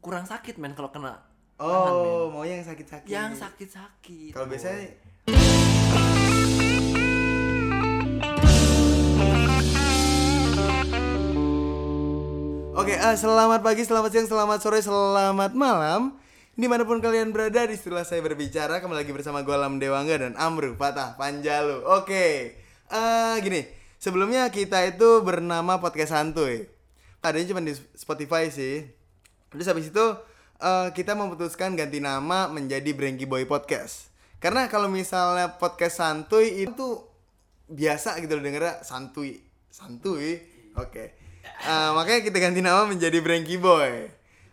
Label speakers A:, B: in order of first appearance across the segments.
A: kurang sakit men kalau kena
B: Oh, mau yang sakit-sakit.
A: yang sakit-sakit.
B: Iya. Kalau biasanya Oke, eh, selamat pagi, selamat siang, selamat sore, selamat malam Dimanapun kalian berada, di setelah saya berbicara Kembali lagi bersama gue Lam Dewangga dan Amru Patah Panjalu Oke, eh gini Sebelumnya kita itu bernama Podcast Santuy Tadinya cuma di Spotify sih Terus habis itu eh, kita memutuskan ganti nama menjadi Brengki Boy Podcast Karena kalau misalnya Podcast Santuy itu biasa gitu loh dengernya santuy santuy oke Eh, makanya kita ganti nama menjadi Brengki Boy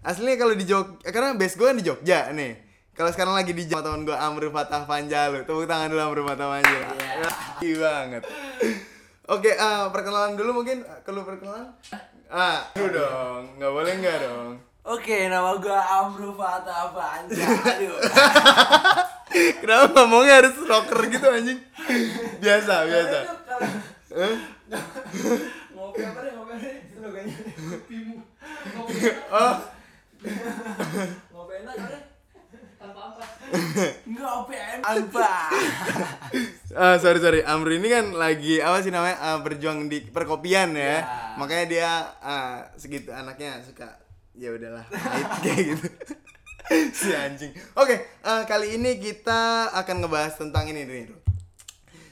B: aslinya kalau di Jogja karena base gue kan di Jogja nih kalau sekarang lagi di Jogja teman gue Amru Fatah Panjalu tepuk tangan dulu Amru Fatah Panjalu Gila banget oke eh, perkenalan dulu mungkin kalau perkenalan ah dulu dong nggak boleh nggak dong
C: Oke, nama gua Amru Fatah Panca. Aduh.
B: kenapa ngomongnya harus rocker gitu anjing biasa biasa Eh?
C: Ngopi apa deh, ngopi apa deh? Slogannya deh. Pimu. Ngopi.
B: oh
C: Ngopi enak apa deh? Ngopi apa?
B: Ah, sorry sorry, Amri ini kan lagi apa sih namanya ah, berjuang di perkopian ya,
C: Ya.
B: makanya dia ah, segitu anaknya suka ya udahlah pahit kayak gitu si anjing. Oke ah, kali ini kita akan ngebahas tentang ini nih. Ru.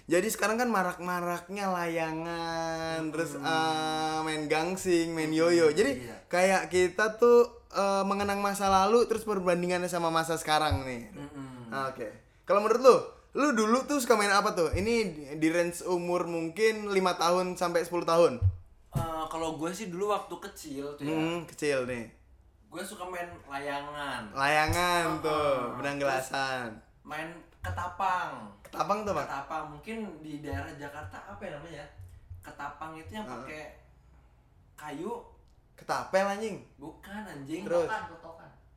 B: Jadi sekarang kan marak-maraknya layangan, terus ah, main gangsing, main yoyo. Jadi
C: Hmm. Iya.
B: kayak kita tuh eh, mengenang masa lalu, terus perbandingannya sama masa sekarang nih.
C: Hmm.
B: Ah, Oke. Kalau menurut lu, lu dulu tuh suka main apa tuh? Ini di- di range umur mungkin 5 tahun sampai 10 tahun.
C: Eh, kalau gue sih dulu waktu kecil tuh ya,
B: Hmm, kecil nih.
C: gue suka main layangan,
B: Layangan
C: Ah,
B: tuh,
C: ah.
B: benang gelasan.
C: main ketapang.
B: Ketapang tuh, Pak.
C: Ketapang mungkin di daerah Jakarta apa ya namanya? Ketapang itu yang pakai kayu
B: Ketapel anjing.
C: bukan anjing.
B: Terus.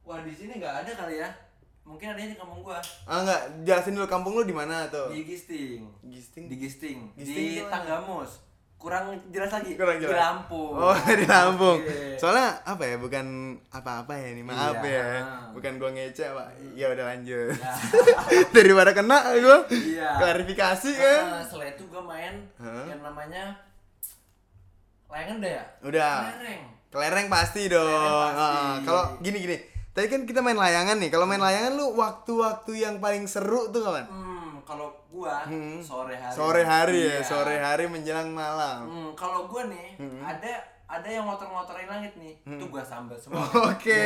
C: Wah, di sini nggak ada kali ya. Mungkin adanya di kampung gua.
B: Ah enggak, jelasin dulu kampung lu di mana tuh?
C: Di Gisting.
B: Gisting.
C: di Gisting,
B: Gisting
C: di
B: itu
C: Tanggamus kurang jelas lagi
B: Kurang jelas.
C: di Lampung Iya.
B: Oh, di Lampung.
C: Oke.
B: Soalnya apa ya? Bukan apa-apa ya ini.
C: Iya.
B: Maaf
C: Hmm.
B: ya. Bukan gua ngece, Pak. Ya udah lanjut.
C: Ya.
B: Daripada kena gua.
C: Iya.
B: Klarifikasi kan.
C: Nah, setelah itu gue main
B: Hah?
C: yang namanya layangan udah ya
B: Udah.
C: lereng
B: Kelereng pasti dong.
C: Kelereng pasti.
B: Heeh. Kalau gini gini. Tadi kan kita main layangan nih. Kalau main layangan lu waktu-waktu yang paling seru tuh kapan?
C: hmm kalau gua
B: Hmm.
C: sore hari
B: Sore hari ya,
C: Iya.
B: sore hari menjelang malam.
C: hmm, kalau gua nih
B: Hmm.
C: ada ada yang ngotor-ngotorin langit nih itu gua sambel semua
B: Oke.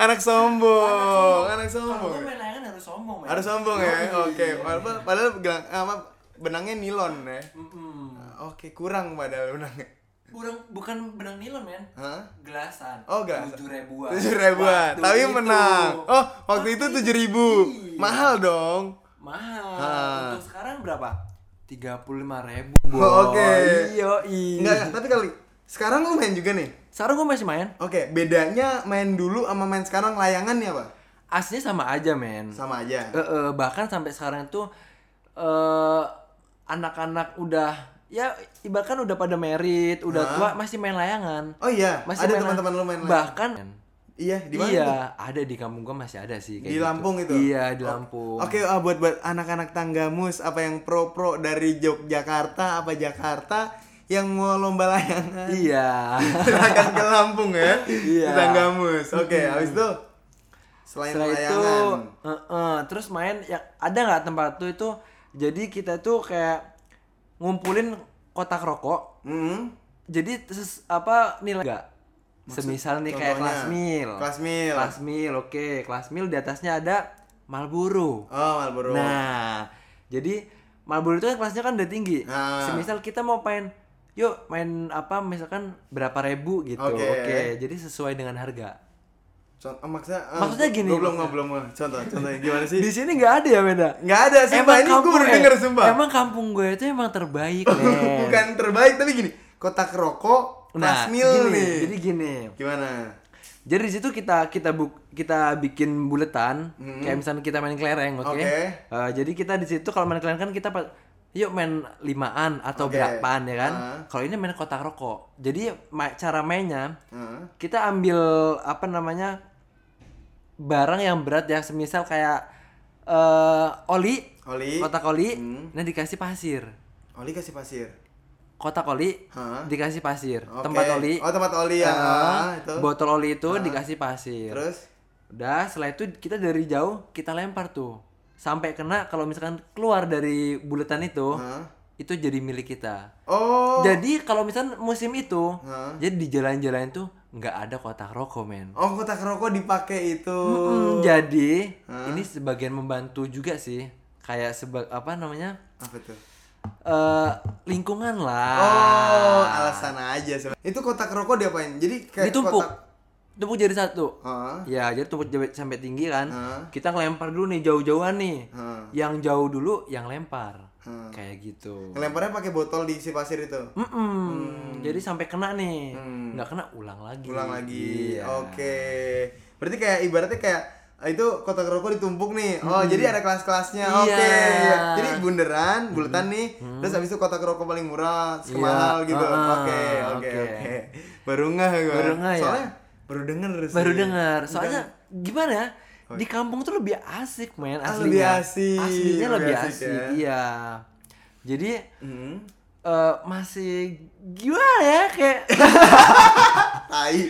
B: Anak sombong. Anak
C: kalau
B: sombong.
C: gua main layangan harus sombong men.
B: Harus sombong ya.
C: Yoi.
B: Oke. Padahal padahal gelang, apa benangnya nilon ya.
C: Mm-mm.
B: Oke, kurang padahal benangnya.
C: Burang, bukan benang nilon men
B: Hah?
C: gelasan
B: Oh, gelasan.
C: tujuh ribuan
B: Tujuh ribuan,
C: Waktu
B: tapi
C: itu.
B: menang. Oh, waktu itu tujuh ribu,
C: Iya.
B: mahal dong.
C: mahal
B: Ah.
C: untuk sekarang berapa tiga puluh lima ribu
B: Oh, oke.
C: iyo
B: Enggak, tapi kali sekarang lu main juga nih.
C: sekarang gue masih main
B: Oke, bedanya main dulu sama main sekarang layangannya apa?
C: aslinya sama aja men
B: Sama aja.
C: Eh, eh, bahkan sampai sekarang itu eh, anak-anak udah ya bahkan udah pada merit udah tua masih main layangan
B: Oh iya,
C: masih
B: ada
C: main
B: teman-teman lu main layangan.
C: bahkan
B: Iya, di mana?
C: iya
B: tuh?
C: ada di kampung gue masih ada sih kayak
B: Di
C: gitu.
B: Lampung itu.
C: iya di Lampung
B: Oke, ah, buat buat anak-anak tanggamus apa yang pro-pro dari Yogyakarta apa Jakarta yang mau lomba layangan.
C: iya
B: Silakan ke Lampung ya.
C: Iya.
B: Di tanggamus. Oke, habis itu selain
C: Setelah itu,
B: layangan.
C: eh, eh, terus main ya ada nggak tempat tuh itu? Jadi kita tuh kayak ngumpulin kotak rokok.
B: Mm-mm.
C: Jadi ses- apa nilai enggak? Semisal nih kayak
B: contohnya?
C: kelas mil.
B: Kelas mil.
C: Kelas mil, oke. Kelas mil di atasnya ada Marlboro.
B: Oh, Marlboro.
C: Nah, jadi Marlboro itu kan kelasnya kan udah tinggi.
B: Ah.
C: Semisal kita mau main yuk main apa misalkan berapa ribu gitu.
B: Oke.
C: jadi sesuai dengan harga.
B: Contoh, ah, maksudnya, ah,
C: Maksudnya gini,
B: gua belum
C: maksudnya.
B: gua belum gua. contoh contohnya gimana sih?
C: Di sini nggak ada ya, Beda?
B: Nggak ada sumpah ini gue
C: kampung-
B: baru
C: eh,
B: denger sumpah.
C: Emang kampung gue itu emang terbaik, men.
B: Bukan terbaik tapi gini, kotak rokok kelas
C: Nah,
B: mil
C: gini,
B: nih.
C: Jadi gini.
B: gimana?
C: Jadi di situ kita kita buk, kita bikin buletan, kayak misalnya kita main kelereng, oke?
B: Hmm. Oke.
C: Eh, jadi kita di situ kalau main kelereng kan kita pa- yuk main limaan atau
B: Oke.
C: berapaan ya kan.
B: Ah.
C: Kalau ini main kotak rokok. Jadi ma- cara mainnya
B: Heeh.
C: kita ambil apa namanya barang yang berat ya, semisal kayak eh, oli,
B: Oli.
C: kotak oli,
B: Hmm.
C: nah dikasih pasir.
B: Oli kasih pasir.
C: Kotak oli
B: Hah?
C: dikasih pasir.
B: Oke.
C: Tempat oli.
B: Oh, tempat oli ya.
C: eh,
B: itu.
C: Botol oli itu dikasih pasir.
B: Terus
C: Udah, setelah itu kita dari jauh kita lempar tuh. Sampai kena kalau misalkan keluar dari buletan itu,
B: Hah?
C: itu jadi milik kita.
B: Oh.
C: Jadi kalau misalkan musim itu,
B: Hah?
C: jadi di jalan-jalan itu nggak ada kotak rokok, men.
B: Oh, kotak rokok dipakai itu. Oh.
C: Mm, jadi ini sebagian membantu juga sih. Kayak seba apa namanya?
B: Apa tuh?
C: eh lingkungan lah.
B: Oh, alasan aja sebenarnya. Itu kotak rokok diapain? Jadi kayak
C: Ditumpuk.
B: kotak
C: Tumpuk jadi satu.
B: Heeh.
C: Ya, jadi tumpuk jabe- sampai tinggi kan.
B: Heeh.
C: Kita ngelempar dulu nih jauh-jauhan nih.
B: Heeh.
C: Yang jauh dulu yang lempar.
B: Heeh.
C: Kayak gitu.
B: Ngelemparnya pakai botol diisi pasir itu.
C: Mm-mm. Jadi sampai kena nih. Nggak kena ulang lagi.
B: Hmm. Ulang lagi.
C: Iya.
B: Oke. Berarti kayak ibaratnya kayak eh, itu kotak rokok ditumpuk nih. Oh, jadi ada kelas-kelasnya.
C: Iya.
B: Oke. Jadi bunderan, buletan nih. Terus habis itu kotak rokok paling murah,
C: Iya.
B: terus kemahal gitu.
C: Ah,
B: Oke, oke,
C: oke.
B: oke. Baru ngeh gua.
C: Baru ngeh ya?
B: Soalnya baru denger sih.
C: Baru dengar. Soalnya gimana ya? Di kampung tuh lebih asik, men.
B: Ah,
C: Aslinya.
B: lebih asik.
C: Aslinya lebih,
B: Lebih asik
C: asik.
B: ya.
C: Iya. Jadi
B: Hmm.
C: eh, masih gimana ya kayak
B: Tai.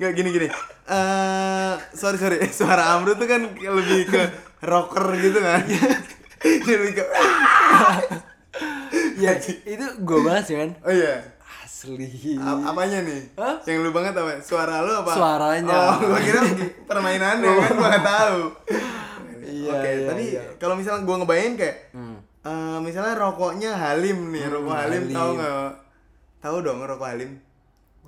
B: Gak gini gini. Eh, sorry sorry, suara Amru tuh kan lebih ke rocker gitu kan. Dia lebih ke
C: ya itu gue banget sih, men.
B: Oh iya.
C: Asli.
B: A- apanya nih?
C: Hah?
B: Yang lu banget apa? Suara lu apa?
C: Suaranya.
B: Oh, gua kira permainannya kan gua gak tahu.
C: Iya,
B: Oke,
C: iya,
B: tadi
C: iya. Hmm.
B: kalau misalnya gua ngebayangin kayak eh, misalnya rokoknya Halim nih, rokok Halim, tahu nggak? Tahu dong rokok Halim.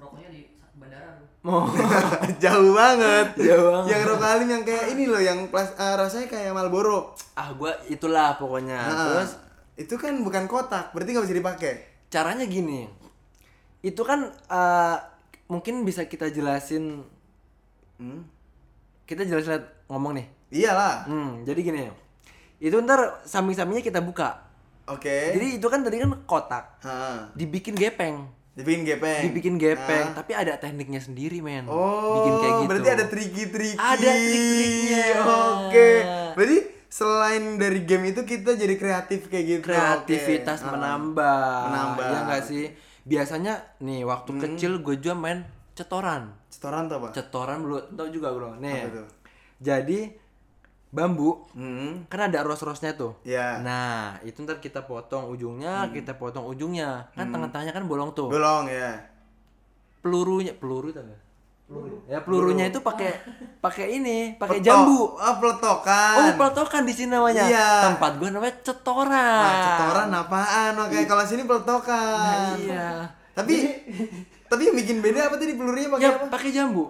A: Rokoknya di bandara lu.
C: Mau
B: Jauh banget.
C: Oh. Jauh banget.
B: Yang rokok Halim yang kayak ini loh, yang plas, eh, rasanya kayak Marlboro.
C: ah gue itulah pokoknya
B: Nah,
C: Ah, terus
B: itu kan bukan kotak, berarti nggak bisa dipakai.
C: caranya gini itu kan eh, mungkin bisa kita jelasin hmm, kita jelasin liat- ngomong nih
B: Iyalah.
C: hmm, jadi gini itu ntar samping-sampingnya kita buka
B: Oke.
C: jadi itu kan tadi kan kotak
B: Ha.
C: dibikin gepeng
B: Dibikin gepeng.
C: dibikin gepeng
B: Ha.
C: tapi ada tekniknya sendiri men
B: Ah. Oh,
C: bikin kayak gitu
B: berarti ada triki-triki.
C: Ada trik-triknya.
B: Oke. Berarti selain dari game itu kita jadi kreatif kayak gitu.
C: kreativitas
B: Oke. Ah.
C: menambah
B: Menambah. Hmm.
C: ya nggak sih biasanya nih waktu kecil gue juga main cetoran
B: Setoran tuh, Pak?
C: cetoran belum tau juga bro nih
B: Apa tuh?
C: jadi bambu
B: Hmm.
C: kan ada ros-rosnya tuh
B: Ya.
C: nah itu ntar kita potong
B: Hmm.
C: ujungnya kita potong ujungnya kan tengah-tengahnya kan bolong tuh
B: Golong ya.
C: pelurunya peluru tau nggak? ya pelurunya itu pakai pakai ini pakai
B: Peletok.
C: jambu
B: Oh, peletokan.
C: oh peletokan di sini namanya
B: Iya. Ah,
C: tempat gua namanya cetoran
B: Wah, setoran apaan? Oke, kalau sini peletokan.
C: Iya. Nah, iya
B: Tapi tapi yang bikin beda apa tadi pelurunya pakai
C: ya
B: apa?
C: pakai jambu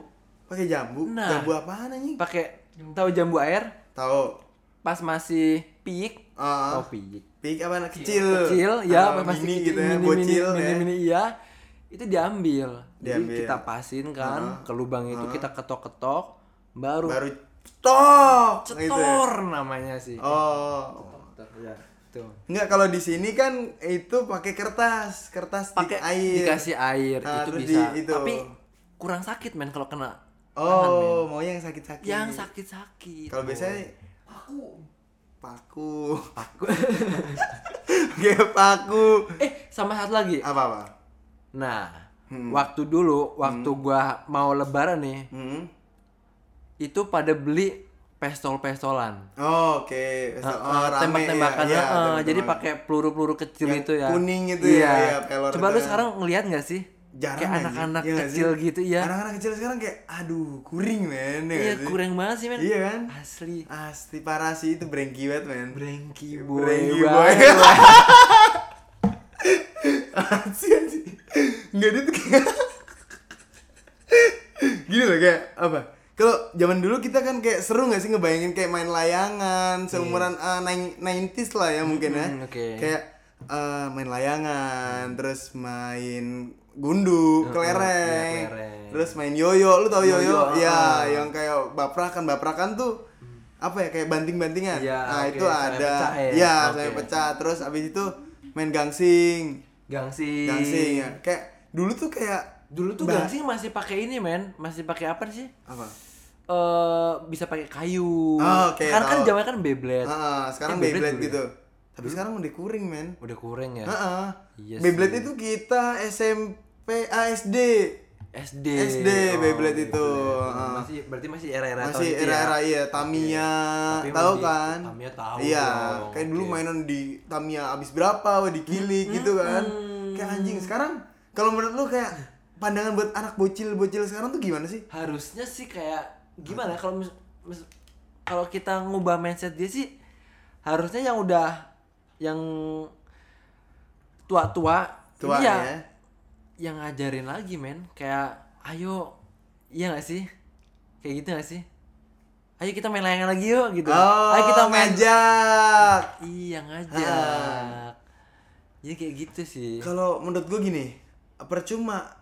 B: Pakai jambu.
C: Nah.
B: Jambu apaan anjing?
C: pakai tahu jambu air
B: Tahu.
C: pas masih piik oh
B: Ah.
C: piik
B: Pik apa kecil.
C: Iya, kecil ya
B: Ah,
C: masih
B: mini
C: kecil,
B: gitu ya,
C: mini,
B: bocil
C: mini,
B: ya.
C: mini, mini, iya itu diambil,
B: Diambil.
C: jadi kita pasin kan ke lubang itu kita ketok-ketok baru,
B: baru cetok
C: cetor
B: gitu ya.
C: namanya sih
B: oh
C: Cetor, ya, tuh
B: nggak kalau di sini kan itu pakai kertas kertas di-
C: pakai
B: air
C: dikasih air
B: Ah,
C: itu
B: terus
C: bisa
B: di- itu.
C: tapi kurang sakit men kalau kena
B: oh mau yang sakit sakit
C: yang sakit-sakit
B: kalau biasanya paku
C: Aku-
B: paku kayak paku
C: eh sama satu lagi
B: apa apa
C: nah waktu dulu waktu gua mau lebaran nih
B: hmm.
C: itu pada beli pestol-pestolan
B: Oh, oke
C: Heeh,
B: Besok- oh, rame
C: tembak-tembakan
B: ya,
C: heeh,
B: tembak-tembakan.
C: jadi pakai peluru-peluru kecil
B: Yang
C: itu ya
B: kuning itu ya,
C: iya.
B: iya, pelor
C: coba
B: itu
C: lu
B: kan.
C: sekarang ngelihat nggak sih
B: jarang
C: kayak
B: anjing.
C: anak-anak
B: Iya nggak sih?
C: kecil gitu ya
B: anak-anak kecil sekarang kayak aduh kuring men ya
C: iya
B: nggak sih?
C: kurang banget sih men
B: Iya kan?
C: asli
B: Asti parah sih itu brengki banget men
C: brengki boy
B: Brengki boy.
C: banget.
B: Ansi ansi. Enggak dia tuh kayak Gini loh kayak apa? Kalau zaman dulu kita kan kayak seru gak sih ngebayangin kayak main layangan seumuran eh, nine- 90s lah ya mungkin ya.
C: Hmm, Iya. oke.
B: Kayak eh, main layangan, terus main gundu, kelereng,
C: iya, kelereng.
B: terus main yoyo, lu tau yoyo?
C: Yoyo,
B: Ya,
C: ah.
B: yang kayak baprakan, baprakan tuh apa ya kayak banting-bantingan.
C: Iya,
B: nah,
C: oke,
B: itu
C: serai
B: ada.
C: pecah ya?
B: Iya,
C: Oke.
B: saya pecah. Terus abis itu main gangsing.
C: Gangsing.
B: Gangsing ya. Kayak dulu tuh kayak
C: Dulu tuh
B: Ba-
C: gangsing masih pakai ini men, masih pakai apa sih?
B: apa?
C: eh bisa pakai kayu.
B: Ah, oke,
C: Sekarang kan
B: tahu.
C: zaman kan Beyblade.
B: Ah,
C: Eh,
B: sekarang
C: Beyblade
B: Beyblade
C: dulu ya?
B: gitu. Tapi sekarang udah kuring, men.
C: Udah kurang ya.
B: Heeh.
C: Iya
B: Beyblade itu kita SMP ASD.
C: SD.
B: SD Beyblade itu.
C: Beyblade. Oh, gitu
B: Ah.
C: ya. Masih berarti masih era-era tahun
B: Masih
C: itu ya?
B: era-era iya Tamiya,
C: Tapi
B: tahu
C: emang di-
B: kan?
C: Tamiya tahu
B: Iya,
C: dong,
B: kayak dulu
C: oke.
B: mainan di Tamiya abis berapa, wah dikilik gitu kan. Kayak anjing sekarang kalau menurut lu kayak pandangan buat anak bocil-bocil sekarang tuh gimana sih?
C: Harusnya sih kayak gimana ya, kalau mis- mis- kalau kita ngubah mindset dia sih harusnya yang udah yang tua-tua
B: Tua
C: iya,
B: ya.
C: yang ngajarin lagi men kayak ayo iya gak sih kayak gitu gak sih ayo kita main layangan lagi yuk gitu
B: Oh,
C: ayo kita main
B: ngajak.
C: iya ngajak
B: Ah.
C: jadi kayak gitu sih
B: Kalau menurut gue gini, percuma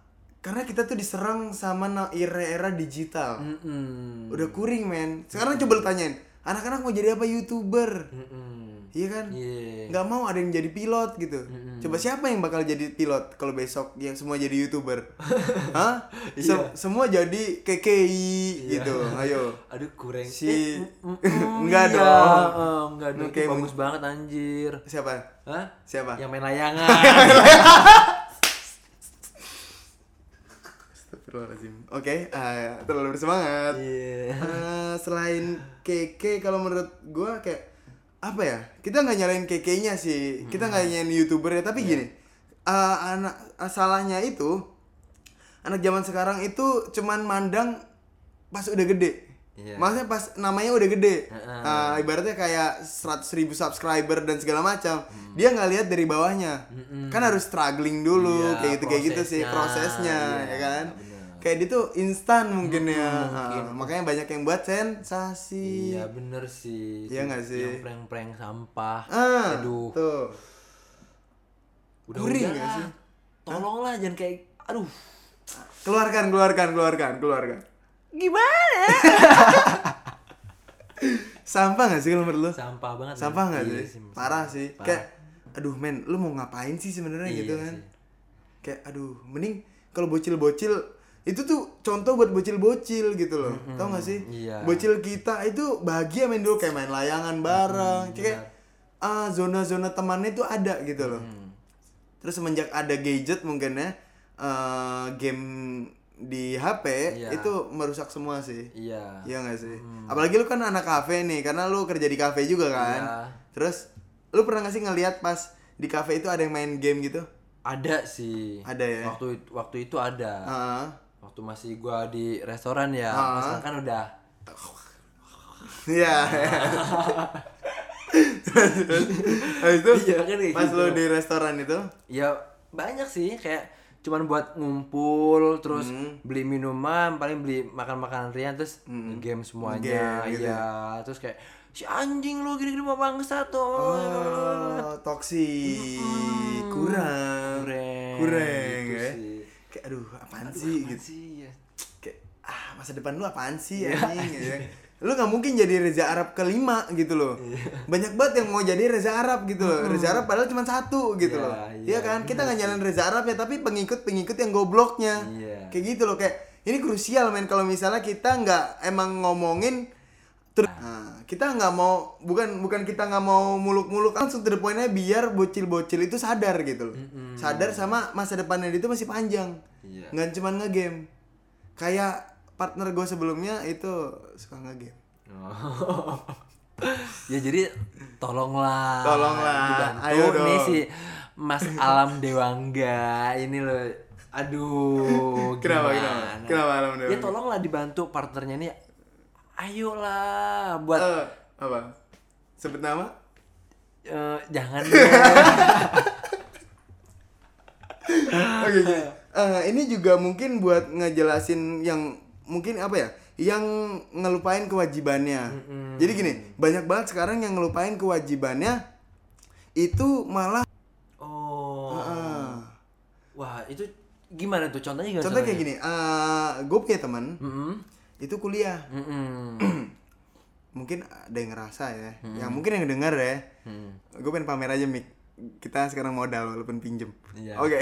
B: karena kita tuh diserang sama na- era-era digital.
C: Mm-mm.
B: Udah kuring, men. Sekarang coba lu tanyain, anak-anak mau jadi apa
C: Mm.
B: YouTuber?
C: Mm-mm.
B: Iya kan?
C: Iya.
B: nggak mau ada yang jadi pilot gitu. Coba siapa yang bakal jadi pilot kalau besok yang semua jadi youtuber? Hah? Se- Semua jadi KKI gitu. Ayo.
C: aduh kurang
B: Si-
C: mm, mm,
B: Enggak
C: iya.
B: dong.
C: Eh, enggak dong
B: Oke,
C: Itu bagus banget anjir
B: Siapa?
C: Hah?
B: Siapa?
C: yang main layangan
B: Astagfirullahaladzim. Oke, ah, terlalu bersemangat.
C: Iya.
B: Eh, selain KK kalau menurut gua kayak apa ya? Kita nggak nyalain KK-nya sih. Kita
C: Hmm.
B: nggak nyalain YouTuber ya,
C: Iya.
B: tapi gini. eh, anak eh, salahnya itu anak zaman sekarang itu cuman mandang pas udah gede.
C: Iya.
B: Maksudnya pas namanya udah gede.
C: Heeh.
B: Eh, ibaratnya kayak 100.000 ribu subscriber dan segala macam.
C: Hmm.
B: Dia nggak lihat dari bawahnya. Kan harus struggling dulu
C: Iya,
B: kayak gitu kayak gitu sih
C: prosesnya.
B: prosesnya
C: Iya,
B: ya kan.
C: bener.
B: Kayak dia tuh instan mungkin ya.
C: Hmm, mungkin.
B: Ah, makanya banyak yang buat sensasi.
C: iya bener sih
B: Iya nggak sih?
C: yang prank-prank sampah
B: Ah,
C: aduh
B: Tuh.
C: udah
B: Guring
C: udah
B: nggak sih?
C: lah. tolonglah jangan kayak aduh
B: Keluarkan, keluarkan, keluarkan, keluarkan.
C: gimana
B: Sampah gak sih kalau menurut lu?
C: sampah banget
B: Sampah
C: men.
B: gak
C: Iya
B: sih?
C: men.
B: Parah sih.
C: Parah.
B: Kayak aduh men, lu mau ngapain sih sebenarnya
C: Iya
B: gitu kan?
C: sih.
B: Kayak aduh, mending kalau bocil-bocil itu tuh contoh buat bocil-bocil gitu loh. Tau gak sih?
C: iya.
B: Bocil kita itu bahagia main dulu kayak main layangan bareng. kayak
C: iya.
B: ah zona-zona temannya itu ada gitu loh. Terus semenjak ada gadget mungkin ya eh, game di HP
C: Iya.
B: itu merusak semua sih.
C: iya
B: Iya gak sih? Apalagi lu kan anak kafe nih, karena lu kerja di kafe juga kan.
C: Iya.
B: Terus lu pernah gak sih ngelihat pas di kafe itu ada yang main game gitu?
C: ada sih
B: Ada ya?
C: waktu itu, waktu itu ada
B: Heeh.
C: waktu masih gua di restoran ya
B: Ah.
C: sekarang kan udah
B: Iya. Terus, Habis itu
C: Iya, kan kayak
B: pas
C: gitu.
B: lu di restoran itu
C: ya banyak sih kayak cuman buat ngumpul terus
B: Hmm.
C: beli minuman paling beli makan makanan ringan terus game semuanya
B: Hmm. Game gitu
C: iya terus kayak si anjing lu gini-gini mau bangsa tuh iya.
B: Oh, toksi kurang
C: Hmm. Kurang,
B: kurang
C: gitu
B: ya.
C: sih.
B: kayak aduh apaan sih
C: Apaan
B: gitu
C: sih ya?
B: kayak ah masa depan lu apaan sih
C: Iya.
B: anjing ya lu nggak mungkin jadi Reza Arab kelima gitu loh
C: Iya.
B: banyak banget yang mau jadi Reza Arab gitu loh Reza Arab padahal cuma satu gitu
C: Hmm. Iya,
B: loh
C: iya,
B: iya kan kita nggak nyalain Reza Arab ya tapi pengikut pengikut yang gobloknya
C: Iya.
B: kayak gitu loh kayak ini krusial men kalau misalnya kita nggak emang ngomongin ter- Nah, kita nggak mau bukan bukan kita nggak mau muluk-muluk langsung to the point-nya biar bocil-bocil itu sadar gitu loh sadar sama masa depannya dia itu masih panjang
C: Iya.
B: nggak cuman ngegame kayak partner gue sebelumnya itu suka ngegame
C: Oh. ya jadi tolonglah
B: Tolonglah,
C: dibantu
B: ayo dong.
C: nih si Mas Alam Dewangga ini loh aduh
B: Kenapa,
C: gimana?
B: kenapa? Kenapa Alam
C: ya
B: Dewangga?
C: tolonglah dibantu partnernya nih ayolah buat
B: Eh, apa sebut nama
C: eh, jangan deh.
B: oke oke. Eh, ini juga mungkin buat ngejelasin yang mungkin apa ya yang ngelupain kewajibannya jadi gini banyak banget sekarang yang ngelupain kewajibannya itu malah
C: oh
B: eh,
C: wah itu gimana tuh contohnya gimana
B: contoh kayak gini eh gue punya teman
C: Mm-mm.
B: itu kuliah
C: Mm-mm.
B: mungkin ada yang ngerasa ya
C: Hmm.
B: yang mungkin yang dengar ya gue pengen pamer aja mik kita sekarang modal walaupun pinjem
C: Iya.
B: oke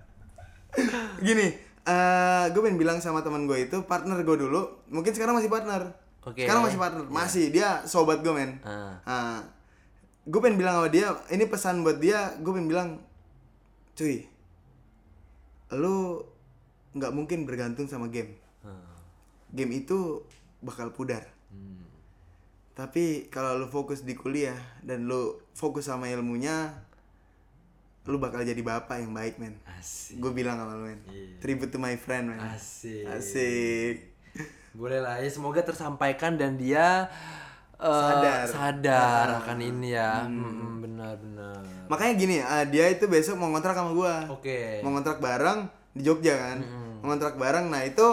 B: gini eh gue pengen bilang sama teman gue itu partner gue dulu mungkin sekarang masih partner
C: Oke. Iya.
B: sekarang masih partner masih dia sobat gue men
C: Ah.
B: gue pengen bilang sama dia ini pesan buat dia gue pengen bilang cuy lu nggak mungkin bergantung sama game
C: ah.
B: game itu bakal pudar
C: Hmm.
B: tapi kalau lu fokus di kuliah dan lu fokus sama ilmunya lu bakal jadi bapak yang baik men
C: Asik.
B: gue bilang sama lu men
C: Iya.
B: tribute to my friend men
C: Asik.
B: asik
C: Boleh lah ya, semoga tersampaikan dan dia eh,
B: Sadar. Ah. Hmm.
C: sadar akan ini ya. Mm-mm, benar benar.
B: makanya gini ah, dia itu besok mau ngontrak sama gue
C: Oke.
B: mau ngontrak bareng di Jogja kan mau ngontrak bareng nah itu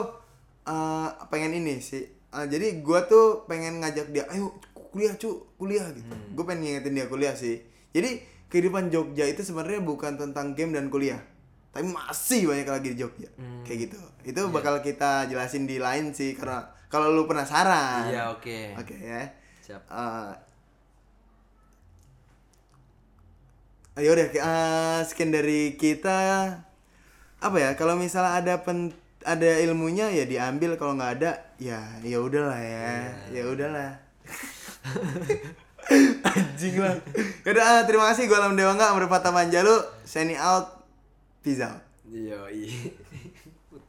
B: eh, pengen ini sih Eh, jadi gua tuh pengen ngajak dia ayo kuliah cu kuliah gitu
C: Mm.
B: gue pengen ngingetin dia kuliah sih jadi kehidupan Jogja itu sebenarnya bukan tentang game dan kuliah tapi masih banyak lagi di Jogja
C: Mm.
B: kayak gitu itu
C: Iya.
B: bakal kita jelasin di lain sih karena kalau lu penasaran
C: Iya, oke.
B: oke ya
C: Siap.
B: Eh, Ayo deh, eh, sekian dari kita. Apa ya? Kalau misalnya ada pen, ada ilmunya ya diambil. Kalau nggak ada, ya ya udahlah ya, ya udahlah. Anjing lah. Yaudah, ah, terima kasih. Gue Alam Dewa nggak berpatah manja lu. Signing out. Peace out.
C: Iya, iya.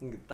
C: Getar.